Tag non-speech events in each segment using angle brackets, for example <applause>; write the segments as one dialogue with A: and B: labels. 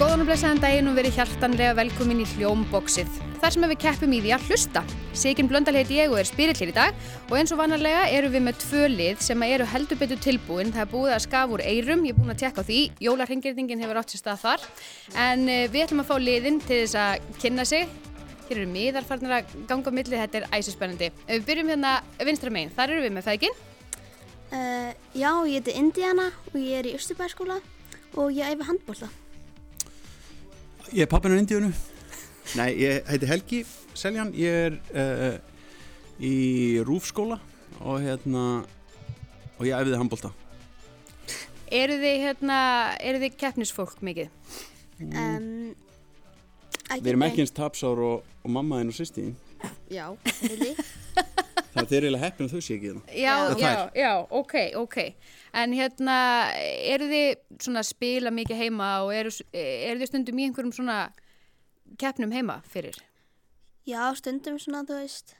A: og blessaðan daginn og verið hjartanlega velkomin í hljómboksið. Þar sem við keppum í því að hlusta. Sigin Blöndal heiti ég og er spirillir í dag og eins og vanalega eru við með tvö lið sem eru heldur betur tilbúin. Það er búið að skafa úr eirum, ég er búin að tjekka á því. Jólarhengirningin hefur átt sér stað þar. En eh, við ætlum að fá liðin til þess að kynna sig. Hér eru miðar farnar að ganga á milli, þetta er æsispennandi. Ef Við byrjum hérna vinstra megin, þar eru við með fækin.
B: Uh, já, ég heiti Indiana og ég er í Östubæðskóla og ég æfi handbólta.
C: Ég er pappinu Indíunu Nei, ég heiti Helgi Seljan Ég er uh, í Rúfskóla og hérna og ég æfiði handbólta
A: Eru þið, hérna, eru þið keppnisfólk mikið?
B: Um,
C: Mm. Við erum ekki eins tapsár og, og mamma þín og sýstín
B: Já, really?
C: Það er þeir eiginlega heppin að þau sé ekki hérna. <laughs> það
A: Já,
C: Eða
A: já, já, ok, ok. En hérna, eru þið svona að spila mikið heima og eru, eru þið stundum í einhverjum svona keppnum heima fyrir?
B: já, stundum svona, þú veist.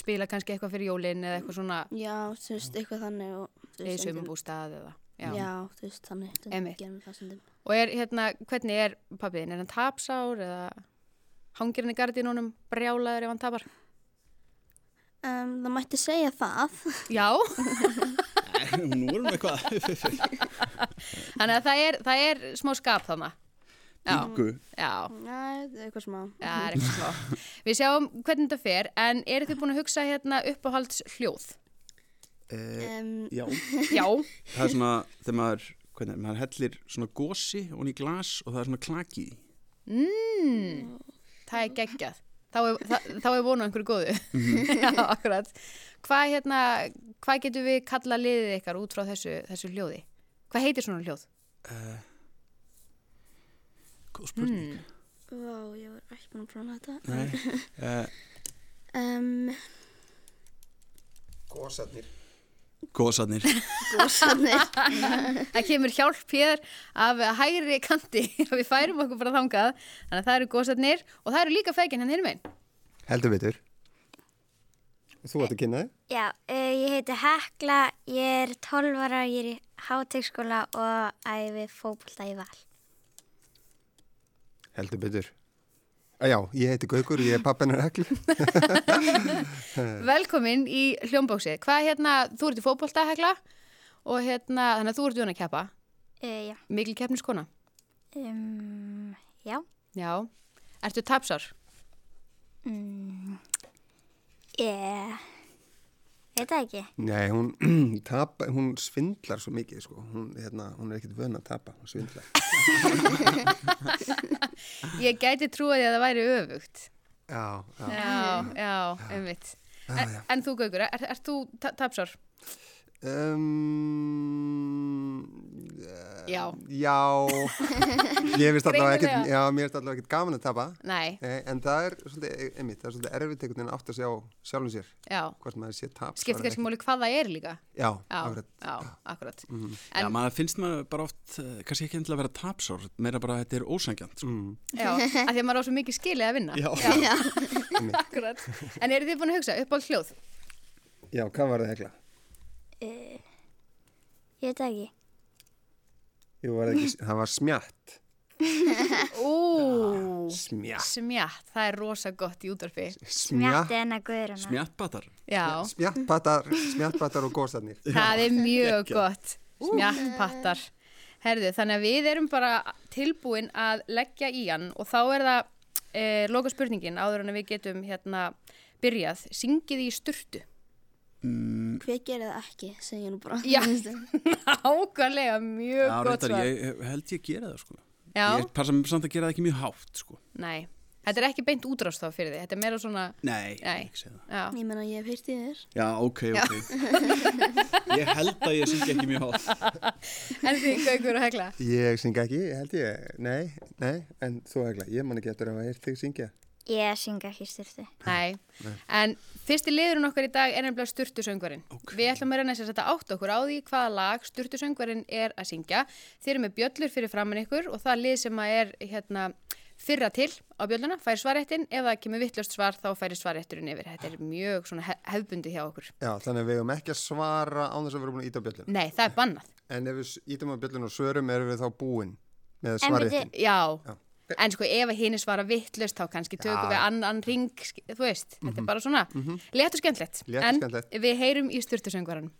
A: Spila kannski eitthvað fyrir jólinn eða eitthvað svona
B: Já, þú veist, eitthvað þannig og... þú
A: í
B: veist, stundum-
A: sömumbústað eða, já.
B: Já. þú veist, þannig. stundum
A: Einmitt.
B: Gerum við það stundum.
A: Og er hérna, hvernig er pappiðin? Er hann tapsár eða hangir hann í gardínunum, brjálaður ef hann tapar?
B: Um, það mætti segja það.
A: Já, <laughs>
C: Nú erum við <laughs> eitthvað
A: þannig að það er, það er smá skap þannig. Já,
C: Bíku
A: já.
B: Nei, eitthvað smá.
A: Já, það er ekki smá. Við sjáum hvernig þetta fer, en eru þið búin að hugsa hérna uppáhalds hljóð?
C: uh,
B: Um,
C: Já
A: Já,
C: Það er svona þegar maður, hvernig, er, maður hellir svona gósi og í glas og það er svona klaki í.
A: það er geggjað. Þá er, það, þá er vonu einhverju góðu. <laughs> Já, akkurat. Hvað hérna, hvað getum við kalla liðið ykkar út frá þessu, þessu hljóði? Hvað heitir svona hljóð?
C: Góð spurning
B: vá, ég var ekki búin að prófa þetta.
C: Nei, uh,
B: Um,
D: Gósarnir
C: <laughs> gósarnir
B: góðsannir.
A: Það kemur hjálp hér af hægri kanti <laughs> og við færum okkur bara þangað. Þannig að það eru góðsatnir og það eru líka hérna feginn henni hinn meginn.
D: Heldur betur Þú ætti að kynna þig
E: Já, uh, ég heiti Hekla, ég er 12 ára, ég er í hátekskóla og æfi fókbalta í val.
D: Heldur betur Já, ég heiti Gaukur, ég er pappinar heklu
A: Velkomin í hljómbóksið. Hvað hérna, þú ert í fótbolta, Hekla, og hérna, þannig að þú ert í að keppa.
E: Uh, já.
A: Mikil keppniskona.
E: Um, já.
A: Já. Ertu tapsar?
E: Ég Eh, veit það ekki.
D: <laughs> Nei, hún, <clears throat> tapa, hún svindlar svo mikið sko. hún, hérna, hún er ekkert vön að tapa hún svindlar
A: Ég gæti trúið að það væri öfugt.
D: Já, já, Ah,
A: Já, já, einmitt. En,
D: já, já.
A: en þú, Gaugur, er, ert þú ta tapsar?
D: Um,
A: Já.
D: já
A: <laughs>
D: Ég veist allavega
A: Greinilega.
D: ekkert Já, mér veist allavega ekkert gaman að tapa
A: Nei,
D: Nei, En það er svolítið, eh, einmitt, það er svolítið erfitt einhvern veginn að átta sig á sjálfum sér
A: já.
D: hvort maður sé tap
A: Skiptir kannski múli hvað það er líka.
D: Já,
A: Já,
D: akkurat Mhm.
A: já, akkurat.
C: Já,
A: En,
C: maður finnst maður bara oft, eh, kannski ekki endilega að vera tapsár, meira bara að þetta er ósangjant. Sko.
A: já, að því að maður á svo mikið skilið að vinna. Já. <laughs> akkurat. En eru þið búin að hugsa upp á hljóð?
D: Já, hvað var það hekla?
E: Ég veit það ekki.
D: Jú, var það, ekki, það var smjatt.
A: Ú,
D: Smjatt.
A: smjátt, það er rosa gott í útvarfi.
E: Mjatti en að guðruna.
C: Smjattbatar.
A: Já,
D: Smjattpattar, smjattpattar og góðsarnir.
A: það er mjög gott. Smjattpattar. Herðu, þannig að við erum bara tilbúin að leggja í hann og þá er það e, loka spurningin áður en að við getum hérna byrjað. Syngið í sturtu. <laughs>
B: <laughs> Hver gerir það ekki, segja nú bara.
A: Já, nákvæmlega, mjög
C: Já,
A: gott
C: reyndar,
A: svar.
C: ég ég held ég að gera það, sko.
A: Já,
C: Ég passa mig samt að gera það ekki mjög hátt, sko.
A: nei. Þetta er ekki beint útrást þá fyrir þið. Þetta er meira svona,
C: Nei, ég
A: Nei.
C: vil ekki segja það.
A: já, <laughs>
B: Ég menna, ég hef heyrt í þér.
C: Já, ok, ok. ég held að ég syngi ekki mjög hátt.
A: en því gaukur og hegla.
D: Ég syng ekki, held ég. Nei, nei, en þú hekla, ég man ekki eftir að hafa heyrt þig syngja.
E: Ég syng ekki styrtu.
A: Nei. en fyrsti liðurinn okkar í dag er nefnilega styrtusöngvarinn. Við ætlum að reyna þess að setja átt okkur á því hvaða lag styrtusöngvarinn er að syngja. Þeir eru með bjöllur fyrir framann ykkur og það lið sem að er hérna, fyrra til á bjölluna fær svaréttin. Ef það kemur vittlust svar þá færi svarétturinn yfir. Þetta er mjög svona hef- hefbundið hjá okkur.
D: Já, þannig að við höfum ekki að svara án þess að við erum búin að íta á bjöllun.
A: Nei, það er bannað.
D: En ef við s- ítum á bjöllun og svörum, erum við þá búin. með
E: En
D: svarið.
E: byrju-
A: Já,
D: Já.
A: en sko ef að hinn svara vittlust þá kannski tökum
D: Já. Mhm.
A: við annan ring, sk- þú veist, þetta er bara svona mm létt og skemmtlegt,
D: Létt og
A: en
D: skemmtilegt.
A: við heyrum í styrtusöngvaran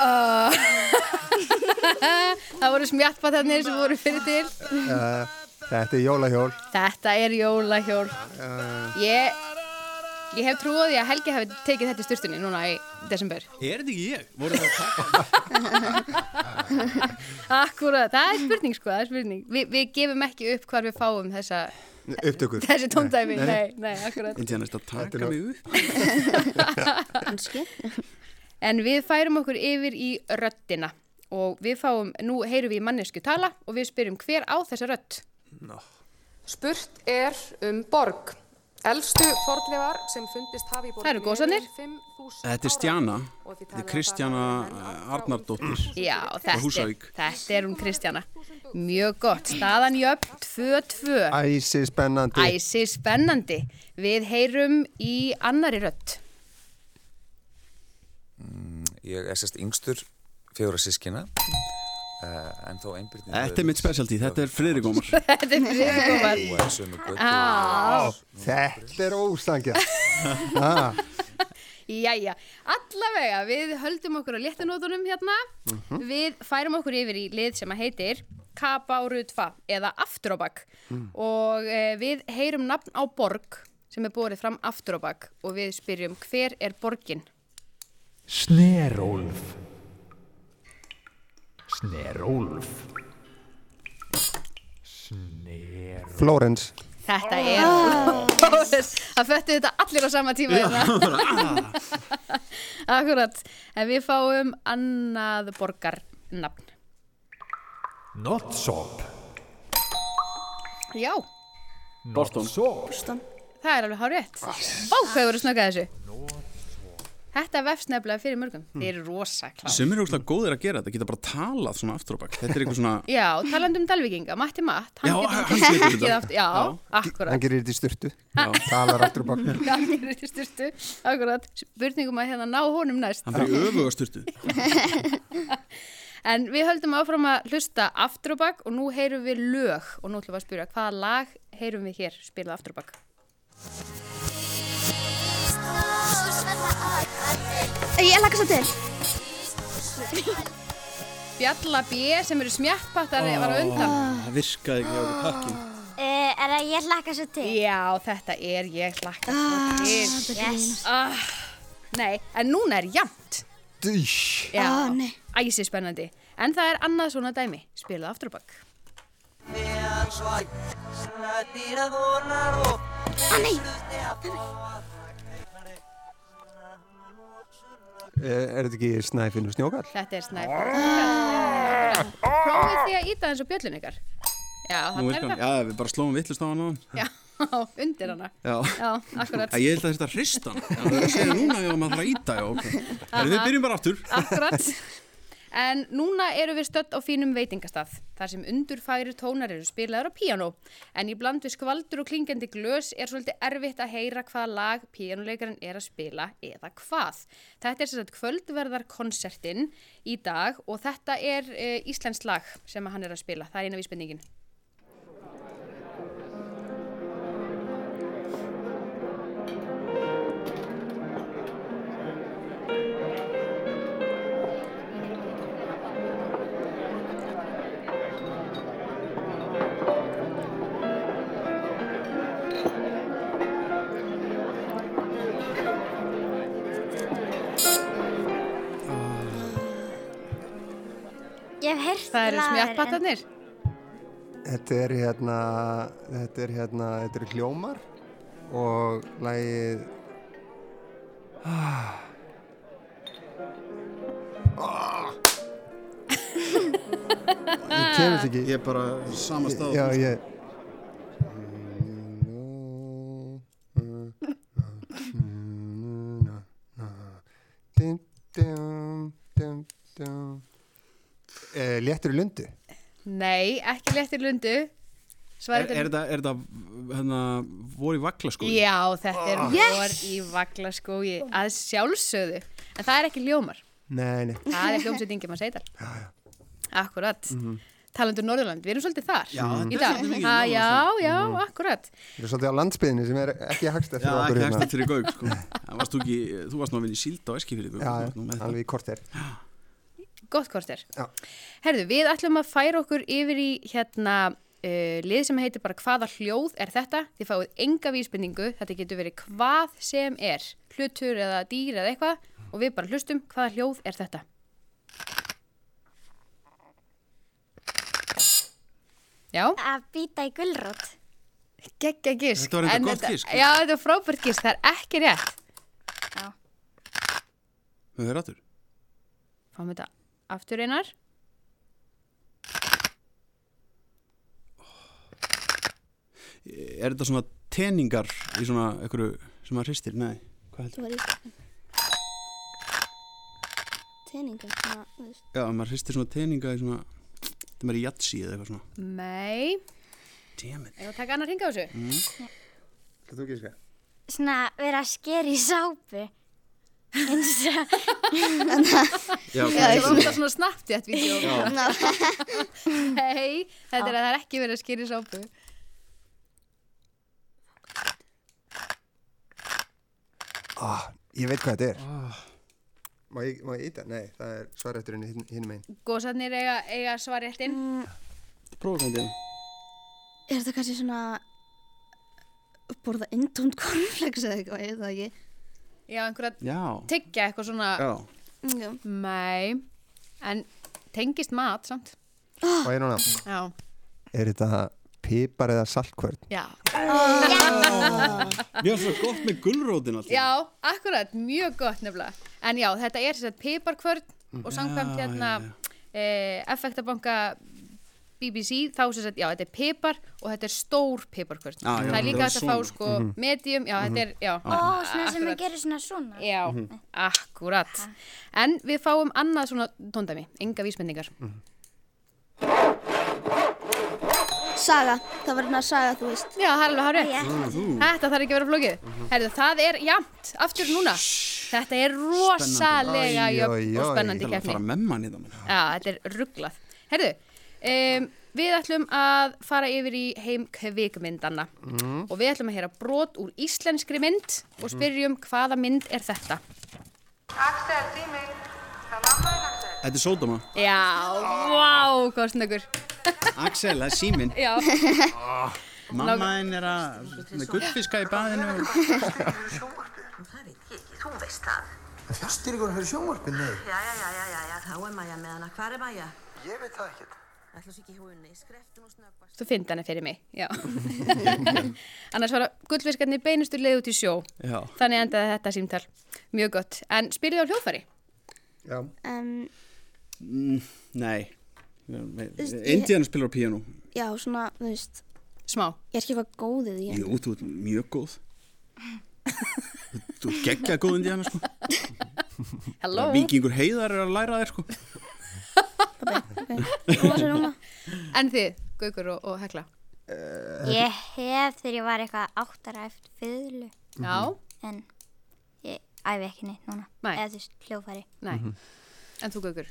A: Ah. <laughs> Það voru smjattbattarnir sem voru fyrir til
D: Eh, Þetta er jólahjól.
A: Þetta er jólahjól Ég, ég hef trúið að Helgi hafi tekið þetta í styrtunni núna í desember
C: Er þetta ekki ég? Voru það að taka?
A: Akkurat, það er spurning sko, það er spurning. Vi, við gefum ekki upp hvar við fáum þessa, <laughs>
D: Upptökur.
A: þessi tóndæmi, nei, nei, akkurat.
C: Indiana er að
D: Þetta
C: taka
D: er
C: mig upp.
B: <laughs> kannski.
A: En við færum okkur yfir í röddina og við fáum, nú heyrum við mannesku tala og við spyrjum hver á þessa rödd.
F: Spurt er um borg. Elstu fornleifar sem fundist hafi í borginni...
A: Það eru gósanir.
F: eru um 5.000
C: Þetta er
F: ára.
C: Stjana.
F: Og
C: Þetta
F: því
C: er
F: talið að
C: Kristjana
F: þar hafi menn allt
C: eh,
F: frá
C: Arnardóttir.
A: Já,
C: Frá
A: þetta er,
C: Húsavík.
A: þetta er hún Kristjana. Mjög gott, staðan jöfn 2-2.
D: Æsi spennandi.
A: Æsi spennandi. Við heyrum í annari rödd. <laughs>
G: Ég er sérst yngstur fjóra sískina uh, en þó einbyrðin
C: Þetta er mitt specialty, þetta er Friðrik Ómar.
A: Þetta er friðgómar.
G: og er sömu götu
A: Á.
D: Þetta er ósangja.
A: Jæja, allavega, við höldum okkur á léttanótunum hérna. Við færum okkur yfir í lið sem að heitir Kappa og Rutfa eða Afturóbak. Og e, við heyrum nafn á borg sem er borið fram Afturóbak og við spyrjum hver er borgin?
H: Snerólf Snerólf Snerólf
D: Flórens.
A: Þetta er... <laughs> Það föttu þetta allir á sama tíma hérna. <laughs> Akkurat, en við fáum annað borgarnafn.
H: Notsop
A: Já,
C: Boston.
H: Notsop
A: Það er alveg hárétt. Ó, hvað voru snöggað þessu? Þetta vefst nefnilega fyrir mörgum.
C: Hmm.
A: Þeir eru rosa klár.
C: Sem er óslega góðir að gera þetta, geta bara talað svona aftur á bakk. Þetta er eitthvað svona...
A: Já, talandi um Dalvíkinga, Matti Matt, hann
C: Já,
A: getur
C: hann getur
A: hann
C: þetta.
A: aftur. Já,
C: Já.
D: Hann
A: akkurat.
D: gerir þetta í styrtu. Talar aftur og bakk.
A: Hann gerir þetta í styrtu, akkurat. Spurningum að hérna ná honum næst.
C: Hann fyrir öfuga styrtu.
A: En við höldum áfram að hlusta aftur og bakk og nú heyrum við lög og nú ætlum við að spyrja hvaða lag heyrum við hér spilað aftur og bakk.
B: Ég lakka svo til.
A: Bjalla B sem eru smjattpattar var á undan.
C: Það virkaði ekki á því pakkin.
E: Uh, er það ég hlakka svo til?
A: Já, þetta er ég hlakka
B: Ah,
A: svo til.
E: Yes.
A: Ah, nei, en núna er jæmt.
D: Dýsh.
A: Já,
B: Ó, Ah, nei.
A: æsi spennandi. En það er annað svona dæmi, spiluð aftur á bakk.
D: Eh, Er þetta ekki snæfinn og snjókall?
A: Þetta er snæf. Prófið því að íta eins og bjöllin ykkar. Já,
C: Ah. Nú
A: hann er
C: virkar hann.
A: það.
C: Já, við bara slóum vittlust á hann á hann.
A: Já, <laughs> undir hana.
C: Já.
A: Já, akkurat.
C: Æ, Ég held að þetta hrist hann. Já, Það er að segja núna ef maður þarf að íta, já, ok. Herru, við byrjum bara aftur.
A: Akkurat. En núna eru við stödd á fínum veitingastað, þar sem undurfæri tónar eru spilaður á píanó. En í bland við skvaldur og klingandi glös er svolítið erfitt að heyra hvaða lag píanuleikarinn er að spila eða hvað. Þetta er sem sagt kvöldverðarkonsertinn í dag og þetta er uh, Íslands lag sem að hann er að spila. Það er eina vísbendingin.
E: Ég hef heyrt
A: Það eru
E: lagurinn.
A: smjattpattarnir.
D: Þetta er hérna, þetta er hérna, þetta eru hljómar og lagið ah. ah. Ég kemur ekki
C: Ég er bara sama stað.
D: Já, ég Eh, Léttur í lundu
A: Nei, ekki léttir lundu.
C: Er,
A: Svarið
C: er þetta, er þetta hérna, voru í vagla sko?
A: Já, þetta er vor í vaglaskói að sjálfsöðu. En það er ekki ljómar.
D: Nei, nei.
A: Það er hljómsveit Ingemar Seidar. Akkurat. Mm -hmm. Talandur Norðurland, við erum svolítið þar.
C: Mhm. Já, þetta
A: í
C: er
A: dag.
C: svolítið mikið sko. Mhm.
A: Ha,
C: Norðurland.
A: Já, já, akkurat.
D: Þetta er svolítið á landsbyðinni sem er ekki hagst eftir
C: Já,
D: okkur
C: ekki
D: hérna.
C: hægst fyrir gaug sko. Það varst þú, ekki, þú varst nú að vinna í síld á Eskifirði þú
D: Já,
C: varst nú með þetta.
D: alveg í korter.
A: Gott kortir.
D: Já.
A: Herðu, við ætlum að færa okkur yfir í hérna uh, lið sem heitir bara hvaða hljóð er þetta. Þið fáið enga vísbendingu, þetta getur verið hvað sem er, hlutur eða dýr eða eitthvað og við bara hlustum hvaða hljóð er þetta. Já.
E: Að býta í gulrót.
A: Gekkja gísk.
C: Þetta var reyndar
A: En
C: gott gísk.
A: Já, þetta var frábært gísk, það er ekki rétt.
C: Höfum við rættur?
A: Fáum þetta aftur einar.
C: Er þetta svona teningar í svona einhverju sem að hristir? Nei, hvað heldur?
B: Þú var í Tenningar, svona, þú veist.
C: Já, maður hristir svona teninga í svona Þetta maður í jatsi eða eitthvað svona
A: Nei,
C: Damn it
A: eða taka annar hringa á þessu.
D: Þú gíska?
E: Svona vera að skeri í sápu.
C: Já,
A: Já, það var þetta svona snabbt í þetta <laughs> vídeo. Nei, þetta er að það er ekki verið að skýra í sápu.
D: Ég veit hvað þetta er.
C: Ah.
D: Má ég, má ég íta? Nei, það er svarætturinn hinn, hinn megin.
A: Góðsarnir eiga, eiga svar rétt inn.
C: prófa þetta
B: Er þetta kannski svona borða indónd kornflex eða eitthvað, ég veit það ekki.
A: Já, einhverja
C: Já,
A: tyggja eitthvað svona.
C: já
B: Já.
A: Nei, en tengist mat samt.
D: Og ég núna.
A: Já.
D: Er þetta pipar eða saltkvörn?
A: Já,
C: Mér er svo gott með gullrótin alltaf
A: já akkurat, mjög gott nefnilega. En já, þetta er sérst piparkvörn og samkvæmt
C: Já,
A: hérna
C: já,
A: eh, effektabanka BBC, þá sérst að, já, þetta er pipar og þetta er stór piparkvörn.
C: Já, Mhm. já,
A: það er líka
C: það er
A: hægt að fá
C: svona.
A: sko medium, já, þetta er, já.
E: Ó, svona sem
A: akkurat.
E: að gera svona svona.
A: Já,
C: Mhm.
A: akkurat. En við fáum annað svona tóndæmi, enga vísmyndingar.
B: Saga, það var hérna saga, þú veist.
A: Já, það er alveg hárið.
E: Rétt.
A: Þetta þarf ekki að vera flókið.
C: Mhm.
A: Herðu, það er jafnt, aftur núna. Þetta er rosalega
D: Æ,
A: jöfn
D: æ,
A: og
D: æ.
A: spennandi
C: Það er að hérna,
A: keppni.
C: fara með manni þannig
A: Já, þetta er rugglað. Herðu, um, við ætlum að fara yfir í heim kvikmyndanna
C: Mhm.
A: og við ætlum að heyra brot úr íslenskri mynd og spyrjum hvaða mynd er þetta.
I: Axel, tíminn. Það mamma er Axel.
C: Þetta er sódama
A: Já, vá, hvað snöggur.
C: Axel, það er síminn
A: Já,
C: Mamma henn er að með gullfiska í baðinu og-
I: Þú veist það.
J: Þjóstir ykkur að höra sjónvarpið, nei.
I: Já, já, já, já, já, já, þá er Maja með hana. Hvar er Maja?
J: Ég veit það ekkert.
I: Ætla sér ekki húnni. Skreftu nú snöggvast.
A: þú finnst hana fyrir mig. Já. <laughs> Annars var gullfiskarnir beinustur leið út í sjó.
C: Já
A: Þannig endaði þetta símtal. Mjög gott. En spyrðu á hljóðfæri?
D: Já.
B: Um,
C: Mm, Nei Indiana spilar á píanu
B: já, svona, þú veist,
A: Smá.
B: ég er ekki eitthvað góðið í.
C: Jú, þú ert mjög góð Þú ert geggja góð Indiana sko
A: Hello.
C: Víkingur heiðar er að læra þér sko
B: Þú var sér núna.
A: En þið, Gaukur og, og Hekla.
E: Ég hef þegar ég var eitthvað áttara eftir fyrðlu.
A: Já.
E: En ég æfi ekki neitt núna.
A: Nei.
E: Eða þú veist, hljófæri.
A: Nei. En þú, Gaukur?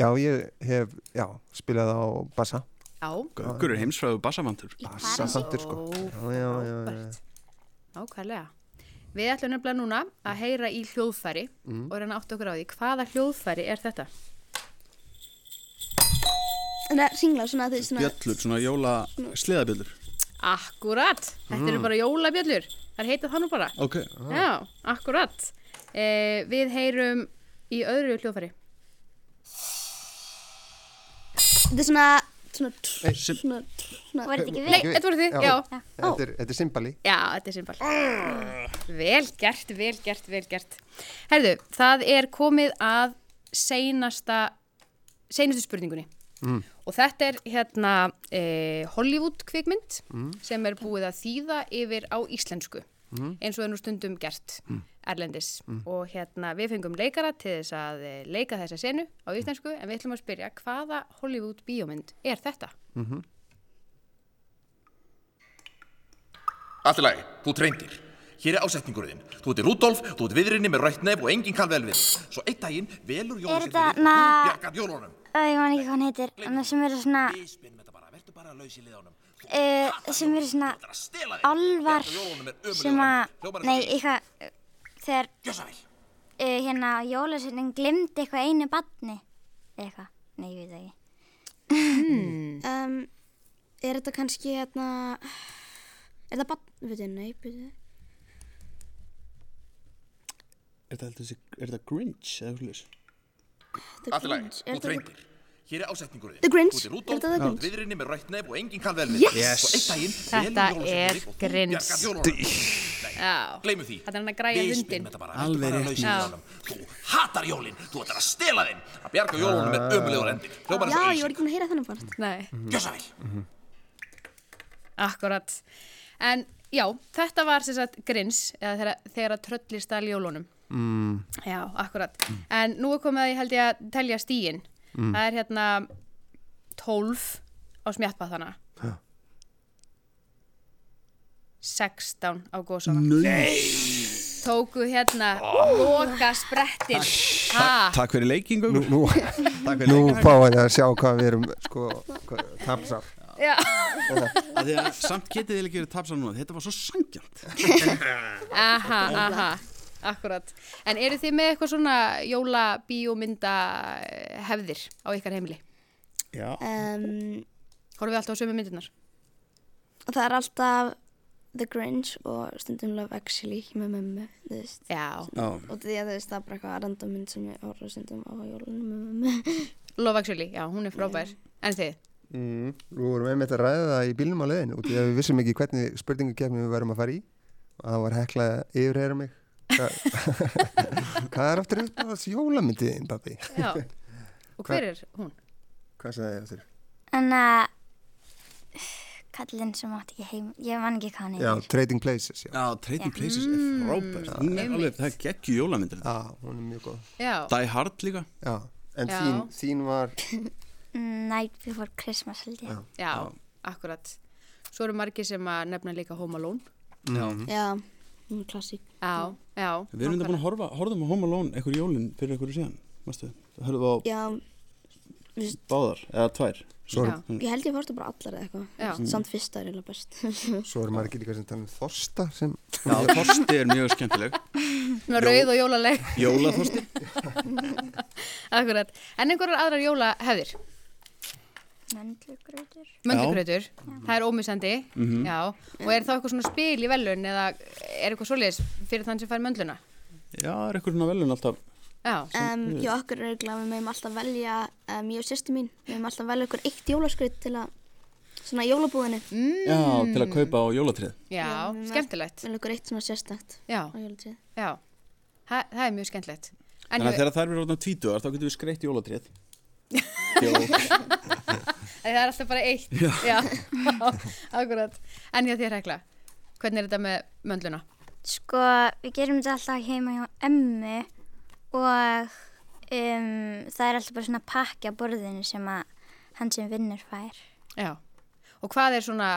D: Já, ég hef, já, spilað á bassa.
A: Já.
C: Gaukur er heimsfræðu bassavantur
D: Bassa þáttur, sko. Já, já, já, já.
A: Bært. Ákvæðlega. Við ætlum nefnilega núna að heyra í hljóðfæri og reyna átt okkur á því. Hvaða hljóðfæri er þetta?
B: Þannig að ringla, svona, þú veist, svona,
C: Bjöllur, svona jóla sleðabjöllur
A: Akkurat. Þetta eru bara jólabjöllur. Það heita það nú bara.
C: Ok
A: Já, akkurat. Eh, við heyrum í öðru hljóðfæri.
B: þetta er svona, svona, tr-
C: sem-
B: svona, tr- svona,
E: Var þetta ekki
A: Nei,
E: við?
A: þetta voru þið.
D: Já.
A: Já.
D: Þetta er, þetta er Simbali.
A: Já, þetta er simpal. Vel gert, vel gert, vel gert. Herðu, það er komið að seinasta, seinastu spurningunni. Og þetta er hérna eh, Hollywood kvikmynd sem er búið að þýða yfir á íslensku eins og er nú stundum gert erlendis og hérna við fengum leikara til þess að eh, leika þessa senu á íslensku en við ætlum að spyrja hvaða Hollywood bíómynd er þetta?
K: Allt í lagi, þú treyndir. Hér er ásetningurinn þinn. Þú ert Rudolf, þú ert viðrinni með rætt nef og enginn kann vel við. þig. Svo einn daginn velur Jón
E: Er
K: sér
E: þetta
K: til við
E: na...
K: Guð bjargar jólunum.
E: Æ, ég man ekki hvað hann heitir. Annars sem eru svona... Uh, sem eru svona álvar sem að, nei, eitthvað, eh, þegar uh, hérna jólasunning glimti eitthvað einu badni, eða eitthvað, nei, ég veit það ekki.
B: um, Er þetta kannski hérna Er það bann, veit ég, nei, veit ég
C: Er þetta, heldur þessi- er þetta Grinch eða hvernig þess?
K: Allt í lagi,
B: Grinch, er
K: þú
B: þetta-
K: reyndir. Hér er ásetningurinn
B: The Grinch,
K: Þú ert
B: er þetta The
K: Rudolf, þú
B: Grinch?
K: ert viðrinni með rætt nef og enginn kann vel við.
A: Yes!
K: þig. Svo einn daginn
A: Þetta
K: velur Jón sér
A: er
K: til við og Guð
A: grins.
K: bjargar jólunum.
A: Já.
K: Gleimu því.
A: Þetta er hann að græja
K: Við
A: vindin.
K: spinnum þetta bara,
C: Alveg
K: vertu bara
C: rétt.
K: laus í
A: Já.
K: jólunum. Þú hatar jólin, þú ætlar að stela þeim. Að bjarga jólunum með ömulegur endir. Hljómar
B: Já,
K: eins
B: ég
K: og auðsýn.
B: var ekki búin að heyra þennan part
A: Nei,
K: Gjössavel.
A: akkurat. En já, þetta var sem sagt grins, eða þegar, þegar að tröllir stæl jólunum.
D: Mm.
A: Já, akkurat. En nú er komið að ég held ég að telja stíin.
D: Mm.
A: Það er hérna 12 á smjattpathana.
D: Já.
A: 16 á góðsóna.
D: Mm.
C: Nei!
A: Tóku hérna
D: Ah.
A: loka sprettin. Ha,
C: Takk fyrir leikingu Nú,
D: nú, Nú fáið þið að sjá hvað við erum sko, hvað- tapsar
A: já.
C: að því að samt getið þið ekki verið tapsa núna þetta var svo sangjant
A: Aha, aha. Akkurat. En eru þið með eitthvað svona jólabíómynda hefðir á ykkar heimili?
C: Já.
B: um,
A: Horfum við alltaf á sömu myndirnar?
B: Það er alltaf The Grinch og stundum Love Actually með mömmu, þú veist
A: Já.
C: Já.
B: Og því að þú veist, það er bara eitthvað random mynd sem ég horfa stundum á jólunum með mömmu
A: Love Actually, já, hún er frábær. En þið?
D: mm. Við vorum einmitt að ræða það í bílnum á leiðinu út í að við vissum ekki hvernig spurningakefni við værum að fara í og það var hekla að yfirheyra mig Hva- <laughs> Hvað er aftur uppáðast jólamyndiðin, pappi?
A: Já. <laughs> Og hver er hún?
D: Hvað sagði ég aftur?
E: En að, kallinn sem átti ekki heim, ég man ekki hvað hann
D: Já,
E: heitir.
D: Trading Places Já,
C: Já, Trading Places er frábært Hún er alveg, það er geggju jólamyndir
D: Já, hún er mjög góð
A: Já.
C: Die Hard líka
D: Já, en
A: Já.
D: Þín, þín var
A: Night Before Christmas held ég. Já, akkurat. Svo eru margir sem að nefna líka Home Alone.
C: Já.
B: Já, hún er klassík
A: Já, já.
C: Við erum þetta búin að horfa, horfðum á Home Alone einhverju jólin fyrir einhverju síðan Mastu, það hörðum við á
B: Já, þú veist,
C: báðar eða tvær
D: Svo er-
B: ég held ég fórstu bara allar
A: Já.
B: eða eitthvað Samt fyrsta er eiginlega best
D: Svo er margir líka sem tannum Þorsta sem
C: Já, Þorsti er mjög skemmtileg
A: Svona rauð og jólaleg. <laughs>
C: Jólaþorsti
A: akkurat. En einhverjar aðrar jólahefðir.
E: Möndlugröður.
A: Möndugröður, það er ómissandi.
E: Mhm.
A: Já. Og er þá eitthvað svona spil í velun eða er eitthvað svoleiðis fyrir þann sem fær möndluna?
C: Já, er eitthvað svona velun alltaf
A: Já.
B: um, Hjá okkur er eiginlega, við meðum alltaf velja um, Ég og sýsti mín, við meðum alltaf velja okkur eitt jólaskrytt til að Svona í jólabúðinu
A: mm.
C: Já, til að kaupa á jólatrið
A: Já, skemmtilegt.
B: Velja okkur eitt svona sérstakt
A: Já,
B: á jólatíð
A: já. Það, það er mjög skemmtilegt. En
C: Þannig að
A: hefur-
C: þegar þær eru orðna tvítuðar þá getum við skreitt jólatrið
A: Æ, Það er alltaf bara eitt
C: Já.
A: <laughs> akkurat En ég þér hekla, hvernig er þetta með möndluna?
E: Sko, við gerum þetta alltaf heima hjá emmu og um, það er alltaf bara svona pakki á borðinu sem að hann sem vinnur fær.
A: Já Og hvað er svona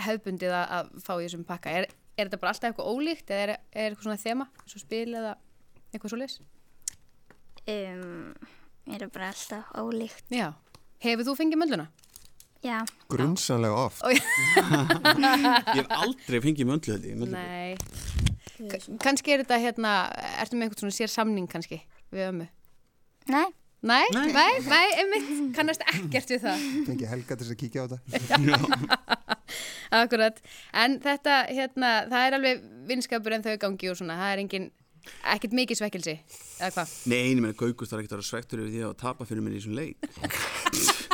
A: hefbundið að, að fá í þessum pakka? Er, er þetta bara alltaf eitthvað ólíkt eða er, er eitthvað svona þema, svo spil eða eitthvað svo leis?
E: Um, er það bara alltaf ólíkt.
A: Já Hefur þú fengið möndluna?
E: Já.
D: Grunsanlega oft
A: Ó, já.
C: Ég hef aldrei fengið möndlu held ég möndlu.
A: Nei Ka- Kannski er þetta hérna, ertu með eitthvað svona sér samning kannski við ömmu?
E: Nei.
A: Nei, nei, nei, einmitt, kannast ekkert við það
D: Fengi Helga til þess að kíkja á þetta
A: Akkurat, en þetta hérna, það er alveg vinskapur en þau gangi og svona, það er engin, ekkert mikið svekkelsi, eða hvað?
C: Nei, ég meina Gaukus þarf ekkert að vera svektur yfir því að tapa fyrir mér í þessum leik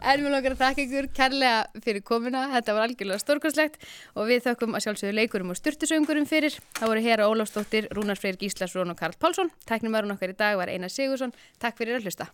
A: En við langar að þakka ykkur kærlega fyrir komuna, þetta var algjörlega stórkostlegt og við þökkum að sjálfsögðu leikurum og styrtusöngurum fyrir. Það voru Hera Ólafsdóttir, Rúnar Freyr Gíslason og Karl Pálsson. Tæknum okkar í dag var Einar Sigursson. Takk fyrir að hlusta.